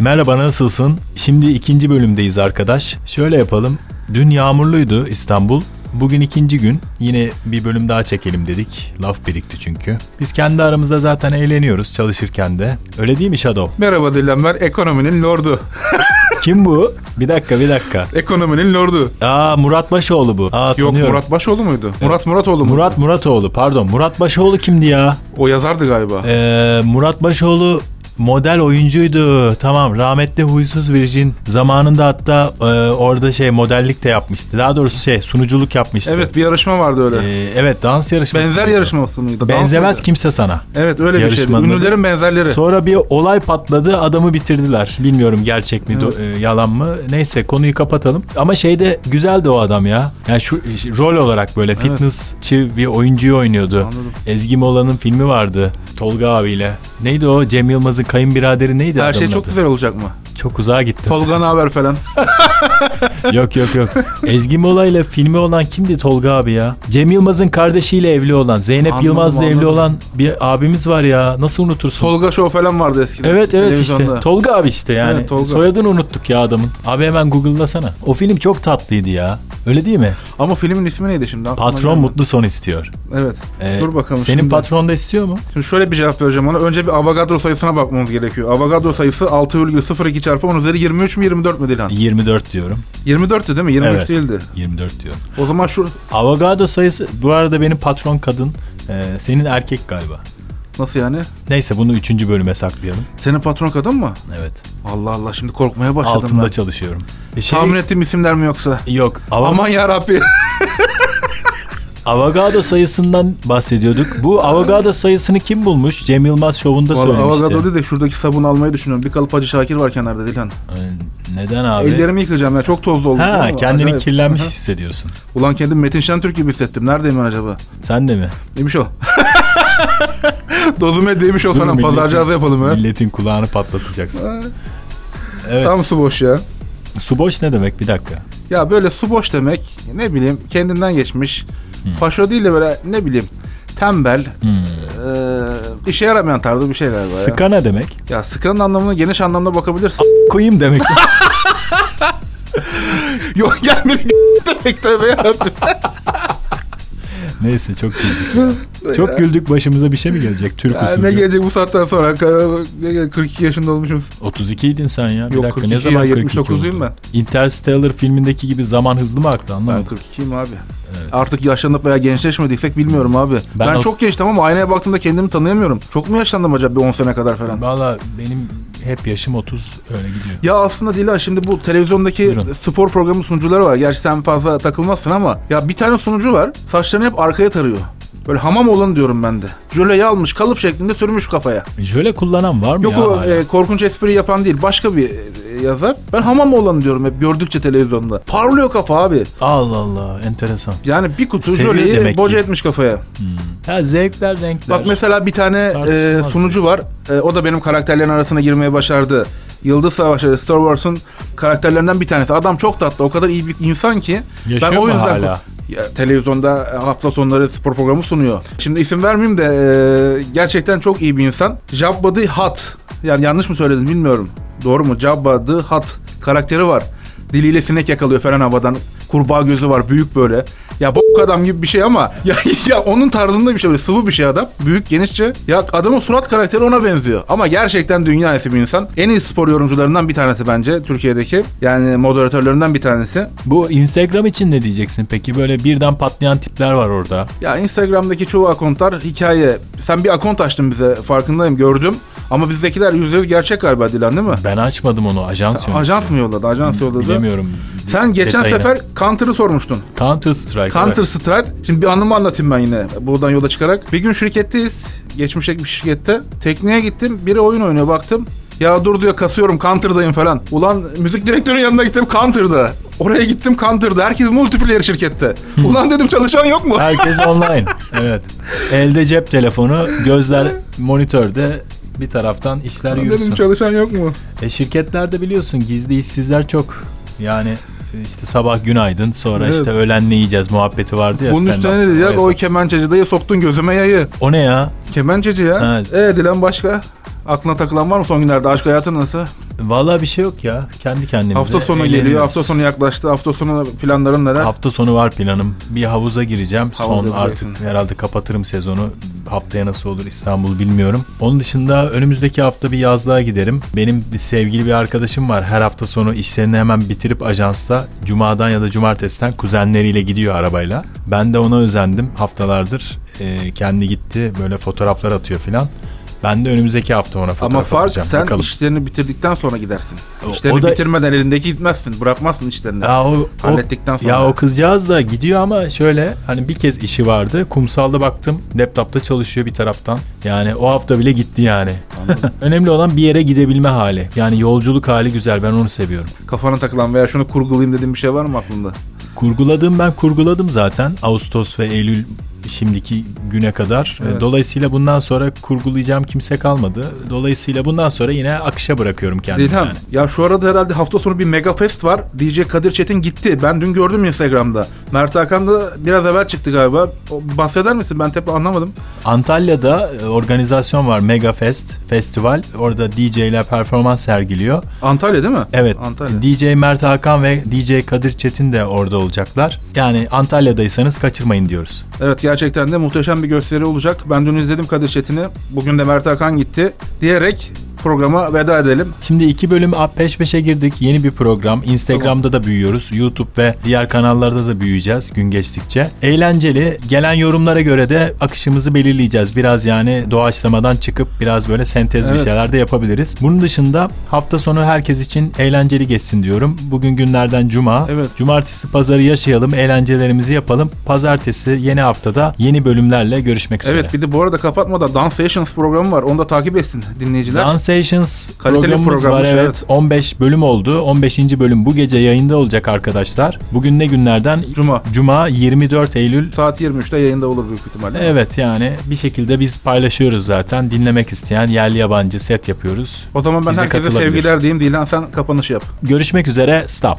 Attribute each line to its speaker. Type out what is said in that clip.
Speaker 1: Merhaba nasılsın? Şimdi ikinci bölümdeyiz arkadaş. Şöyle yapalım. Dün yağmurluydu İstanbul. Bugün ikinci gün. Yine bir bölüm daha çekelim dedik. Laf birikti çünkü. Biz kendi aramızda zaten eğleniyoruz çalışırken de. Öyle değil mi Shadow?
Speaker 2: Merhaba Dilember, ekonominin lordu.
Speaker 1: Kim bu? Bir dakika bir dakika.
Speaker 2: Ekonominin lordu.
Speaker 1: Aa Murat Başoğlu bu. Aa
Speaker 2: Yok
Speaker 1: tanıyorum.
Speaker 2: Murat Başoğlu muydu? Murat Muratoğlu mu?
Speaker 1: Murat Muratoğlu pardon. Murat Başoğlu kimdi ya?
Speaker 2: O yazardı galiba.
Speaker 1: Ee, Murat Başoğlu model oyuncuydu. Tamam rahmetli huysuz virjin. Zamanında hatta e, orada şey modellik de yapmıştı. Daha doğrusu şey sunuculuk yapmıştı.
Speaker 2: evet bir yarışma vardı öyle.
Speaker 1: Ee, evet dans yarışması.
Speaker 2: Benzer
Speaker 1: mıydı?
Speaker 2: yarışması mıydı? Dans
Speaker 1: Benzemez
Speaker 2: mıydı?
Speaker 1: kimse sana.
Speaker 2: Evet öyle bir şeydi.
Speaker 1: Yarışmanın adı.
Speaker 2: Ünlülerin benzerleri.
Speaker 1: Sonra bir olay patladı adamı bitirdiler. Bilmiyorum gerçek mi do- e, yalan mı. Neyse konuyu kapatalım. Ama şeyde güzeldi o adam ya. Yani şu e, rol olarak böyle fitnessçi bir oyuncuyu oynuyordu.
Speaker 2: Anladım.
Speaker 1: Ezgi Mola'nın filmi vardı. Tolga abiyle. Neydi o? Cem Yılmaz'ın kayınbiraderi neydi?
Speaker 2: Her
Speaker 1: adamın
Speaker 2: şey çok
Speaker 1: adı?
Speaker 2: güzel olacak mı?
Speaker 1: Çok uzağa gittin.
Speaker 2: Tolga ne haber falan.
Speaker 1: yok yok yok. Ezgi Mola ile filmi olan kimdi Tolga abi ya? Cem Yılmaz'ın kardeşiyle evli olan, Zeynep
Speaker 2: Anladım,
Speaker 1: Yılmaz'la evli
Speaker 2: anladım.
Speaker 1: olan bir abimiz var ya. Nasıl unutursun?
Speaker 2: Tolga Show falan vardı eskiden.
Speaker 1: Evet evet işte.
Speaker 2: Televizyonda.
Speaker 1: Tolga abi işte yani.
Speaker 2: Evet, Tolga.
Speaker 1: Soyadını unuttuk ya adamın. Abi hemen Google'lasana. O film çok tatlıydı ya. Öyle değil mi?
Speaker 2: Ama filmin ismi neydi şimdi? Aklıma
Speaker 1: Patron
Speaker 2: gelmedi.
Speaker 1: mutlu son istiyor.
Speaker 2: Evet.
Speaker 1: Ee,
Speaker 2: Dur bakalım
Speaker 1: Senin
Speaker 2: şimdi.
Speaker 1: patron da istiyor mu?
Speaker 2: Şimdi şöyle bir cevap vereceğim ona. Önce bir Avogadro sayısına bakmamız gerekiyor. Avogadro sayısı 6,02 çarpı 10 üzeri 23 mi 24 mi Dilan?
Speaker 1: 24 diyorum.
Speaker 2: 24'tü değil mi? 23
Speaker 1: Evet.
Speaker 2: değildi.
Speaker 1: 24 diyorum.
Speaker 2: O zaman şu
Speaker 1: Avogado sayısı bu arada benim patron kadın. ee, senin erkek galiba.
Speaker 2: nasıl yani?
Speaker 1: Neyse bunu 3. bölüme saklayalım.
Speaker 2: Senin patron kadın mı?
Speaker 1: Evet.
Speaker 2: Allah Allah şimdi korkmaya başladım
Speaker 1: Altında
Speaker 2: ben.
Speaker 1: çalışıyorum. E şey-
Speaker 2: Tahmin ettiğim isimler mi yoksa?
Speaker 1: Yok. Ava-
Speaker 2: Aman ya Rabbi.
Speaker 1: Avogado sayısından bahsediyorduk. Bu Avogado sayısını kim bulmuş? Cem Yılmaz şovunda söylemişti.
Speaker 2: Avogado dedi de şuradaki sabun almayı düşünüyorum. Bir kalıp Hacı Şakir var kenarda Dilan.
Speaker 1: Ee, Neden abi?
Speaker 2: Ellerimi yıkayacağım ya çok tozlu oldu.
Speaker 1: Ha
Speaker 2: Ama
Speaker 1: kendini
Speaker 2: acayip.
Speaker 1: kirlenmiş
Speaker 2: Hı hı.
Speaker 1: hissediyorsun.
Speaker 2: Ulan kendim Metin Şentürk gibi hissettim. Neredeyim ben acaba?
Speaker 1: Sen de mi?
Speaker 2: Neymiş o? Dozume değmiş o
Speaker 1: Dur,
Speaker 2: falan.
Speaker 1: milletin-
Speaker 2: Pazarcı ağzı yapalım ya.
Speaker 1: Milletin kulağını patlatacaksın.
Speaker 2: Ha,
Speaker 1: Evet.
Speaker 2: Tam su boş ya.
Speaker 1: Su boş ne demek? Bir dakika.
Speaker 2: Ya böyle su boş demek ne bileyim kendinden geçmiş. Faşo değil de böyle ne bileyim tembel, eee, işe yaramayan tarzı bir şey galiba ya.
Speaker 1: Sıka ne demek?
Speaker 2: Ya sıkanın anlamına geniş anlamda bakabilirsin.
Speaker 1: Koyayım demek.
Speaker 2: Yok gelmedi demek tabii yarabbim.
Speaker 1: Neyse çok güldük ya. Çok güldük başımıza bir şey mi gelecek? Türk
Speaker 2: Ya ne
Speaker 1: usulü.
Speaker 2: gelecek bu saatten sonra? Ne gelecek? 42 yaşında olmuşuz.
Speaker 1: 32'ydin sen ya. Bir
Speaker 2: Yok,
Speaker 1: dakika
Speaker 2: 42
Speaker 1: ne
Speaker 2: ya,
Speaker 1: zaman 42
Speaker 2: 79'luyum
Speaker 1: oldun? Interstellar filmindeki gibi zaman hızlı mı aktı
Speaker 2: Ben
Speaker 1: anlamadım.
Speaker 2: 42'yim abi. Artık yaşlanıp veya gençleşmediysek bilmiyorum abi. Ben,
Speaker 1: o-
Speaker 2: çok gençtim ama aynaya baktığımda kendimi tanıyamıyorum. Çok mu yaşlandım acaba bir 10 sene kadar falan?
Speaker 1: Valla benim hep yaşım 30 öyle gidiyor.
Speaker 2: Ya aslında Dila şimdi bu televizyondaki
Speaker 1: Buyurun.
Speaker 2: spor programı sunucuları var. Gerçi sen fazla takılmazsın ama ya bir tane sunucu var. Saçlarını hep arkaya tarıyor. Böyle hamam olanı diyorum ben de. Jöleyi almış kalıp şeklinde sürmüş kafaya.
Speaker 1: Jöle kullanan var mı
Speaker 2: Yok
Speaker 1: ya?
Speaker 2: o
Speaker 1: hala?
Speaker 2: e, korkunç espri yapan değil. Başka bir e, yazar. Ben hamam olanı diyorum hep gördükçe televizyonda. Parlıyor kafa abi.
Speaker 1: Allah Allah enteresan.
Speaker 2: Yani bir kutu
Speaker 1: Seviyor
Speaker 2: jöleyi
Speaker 1: demek ki.
Speaker 2: boca etmiş kafaya.
Speaker 1: Ha zevkler renkler.
Speaker 2: Bak mesela bir tane e,
Speaker 1: Tartışılmaz. şey.
Speaker 2: sunucu var. E, o da benim karakterlerin arasına girmeye başardı. Yıldız Savaşları Star Wars'un karakterlerinden bir tanesi. Adam çok tatlı. O kadar iyi bir insan ki.
Speaker 1: Yaşıyor
Speaker 2: ben o
Speaker 1: mu
Speaker 2: yüzden
Speaker 1: hala?
Speaker 2: Ya, televizyonda e, hafta sonları spor programı sunuyor. Şimdi isim vermeyeyim de e, gerçekten çok iyi bir insan. Jabba the Hutt. Yani yanlış mı söyledim bilmiyorum. Doğru mu? Jabba the Hutt karakteri var. Diliyle sinek yakalıyor falan havadan. Kurbağa gözü var büyük böyle. Ya bok adam gibi bir şey ama ya, ya onun tarzında bir şey böyle sıvı bir şey adam. Büyük genişçe. Ya adamın surat karakteri ona benziyor. Ama gerçekten dünya iyisi bir insan. En iyi spor yorumcularından bir tanesi bence Türkiye'deki. Yani moderatörlerinden bir tanesi.
Speaker 1: Bu Instagram için ne diyeceksin peki? Böyle birden patlayan tipler var orada.
Speaker 2: Ya Instagram'daki çoğu akontlar hikaye. Sen bir akont açtın bize farkındayım gördüm. Ama bizdekiler yüzde yüz gerçek galiba Dilan değil mi?
Speaker 1: Ben açmadım onu. Ajans yönetiyor.
Speaker 2: Ajans mı yolladı? Ajans yolladı.
Speaker 1: Bilemiyorum.
Speaker 2: Sen geçen
Speaker 1: detayını.
Speaker 2: sefer Counter'ı sormuştun.
Speaker 1: Counter Strike.
Speaker 2: Counter Strike. Şimdi bir anımı anlatayım ben yine buradan yola çıkarak. Bir gün şirketteyiz. Geçmişteki bir şirkette. Tekneye gittim. Biri oyun oynuyor baktım. Ya dur diyor kasıyorum Counter'dayım falan. Ulan müzik direktörünün yanına gittim Counter'da. Oraya gittim Counter'da. Herkes multiplayer şirkette. Ulan dedim çalışan yok mu?
Speaker 1: Herkes online. Evet. Elde cep telefonu, gözler monitörde bir taraftan işler
Speaker 2: Dedim
Speaker 1: yürüsün.
Speaker 2: çalışan yok mu?
Speaker 1: E şirketlerde biliyorsun gizli işsizler çok. Yani e, işte sabah günaydın sonra
Speaker 2: Evet.
Speaker 1: işte öğlen ne yiyeceğiz muhabbeti vardı ya.
Speaker 2: Bunun
Speaker 1: stand-up.
Speaker 2: üstüne ne diyecek?
Speaker 1: Neyse.
Speaker 2: O kemençeci dayı soktun gözüme yayı.
Speaker 1: O ne ya?
Speaker 2: Kemençeci ya.
Speaker 1: Evet.
Speaker 2: E Dilan başka? Aklına takılan var mı son günlerde? Aşk hayatın nasıl?
Speaker 1: Vallahi bir şey yok ya. Kendi kendimize.
Speaker 2: Hafta sonu geliyor.
Speaker 1: eğleniyoruz.
Speaker 2: Hafta sonu yaklaştı. Hafta sonu planların neler?
Speaker 1: Hafta sonu var planım. Bir havuza gireceğim.
Speaker 2: Havuza
Speaker 1: Son
Speaker 2: gireceksin.
Speaker 1: artık herhalde kapatırım sezonu. Haftaya nasıl olur İstanbul bilmiyorum. Onun dışında önümüzdeki hafta bir yazlığa giderim. Benim bir sevgili bir arkadaşım var. Her hafta sonu işlerini hemen bitirip ajansta cumadan ya da cumartesiden kuzenleriyle gidiyor arabayla. Ben de ona özendim haftalardır. Ee, kendi gitti böyle fotoğraflar atıyor filan. Ben de önümüzdeki hafta ona fotoğraf
Speaker 2: Ama fark
Speaker 1: atacağım.
Speaker 2: sen
Speaker 1: Bakalım.
Speaker 2: işlerini bitirdikten sonra gidersin.
Speaker 1: O-
Speaker 2: İşlerini
Speaker 1: o da-
Speaker 2: bitirmeden elindeki gitmezsin. Bırakmazsın işlerini.
Speaker 1: Ya o, o-
Speaker 2: Hallettikten sonra.
Speaker 1: Ya o kızcağız da gidiyor ama şöyle hani bir kez işi vardı. Kumsalda baktım. Laptopta çalışıyor bir taraftan. Yani o hafta bile gitti yani. Önemli olan bir yere gidebilme hali. Yani yolculuk hali güzel. Ben onu seviyorum.
Speaker 2: Kafana takılan veya şunu kurgulayayım dediğin bir şey var mı aklında?
Speaker 1: Kurguladığım ben kurguladım zaten. Ağustos ve Eylül şimdiki güne kadar. E,
Speaker 2: Evet.
Speaker 1: Dolayısıyla bundan sonra kurgulayacağım kimse kalmadı. Dolayısıyla bundan sonra yine akışa bırakıyorum kendimi.
Speaker 2: Dilhan
Speaker 1: yani.
Speaker 2: ya şu arada herhalde hafta sonu bir mega fest var. DJ Kadir Çetin gitti. Ben dün gördüm Instagram'da. Mert Hakan da biraz evvel çıktı galiba. O, bahseder misin? Ben tepki anlamadım.
Speaker 1: Antalya'da e, organizasyon var Megafest Festival. Orada DJ'ler performans sergiliyor.
Speaker 2: Antalya değil mi?
Speaker 1: Evet.
Speaker 2: Antalya.
Speaker 1: DJ Mert Hakan ve DJ Kadir Çetin de orada olacaklar. Yani Antalya'daysanız kaçırmayın diyoruz.
Speaker 2: Evet gerçekten de muhteşem bir gösteri olacak. Ben dün izledim Kadir Çetin'i. Bugün de Mert Hakan gitti. Diyerek programa veda edelim.
Speaker 1: Şimdi iki bölüm a- peş peşe girdik. Yeni bir program. Instagram'da da büyüyoruz. YouTube ve diğer kanallarda da büyüyeceğiz gün geçtikçe. Eğlenceli. Gelen yorumlara göre de akışımızı belirleyeceğiz. Biraz yani doğaçlamadan çıkıp biraz böyle sentez bir
Speaker 2: Evet.
Speaker 1: şeyler de yapabiliriz. Bunun dışında hafta sonu herkes için eğlenceli geçsin diyorum. Bugün günlerden cuma.
Speaker 2: Evet.
Speaker 1: Cumartesi pazarı yaşayalım. Eğlencelerimizi yapalım. Pazartesi yeni haftada yeni bölümlerle görüşmek üzere.
Speaker 2: Evet bir de bu arada kapatmadan Dance Sessions programı var. Onu da takip etsin dinleyiciler.
Speaker 1: Dance Sessions
Speaker 2: Kaliteli
Speaker 1: programımız var
Speaker 2: programmış,
Speaker 1: evet.
Speaker 2: evet.
Speaker 1: 15 bölüm oldu. 15. bölüm bu gece yayında olacak arkadaşlar. Bugün ne günlerden?
Speaker 2: Cuma.
Speaker 1: Cuma 24 Eylül.
Speaker 2: Saat 23'te yayında olur büyük ihtimalle.
Speaker 1: Evet yani bir şekilde biz paylaşıyoruz zaten. Dinlemek isteyen yerli yabancı set yapıyoruz.
Speaker 2: O zaman ben
Speaker 1: Bize
Speaker 2: herkese
Speaker 1: katılabilir.
Speaker 2: sevgiler diyeyim. Dilan sen kapanışı yap.
Speaker 1: Görüşmek üzere. Stop.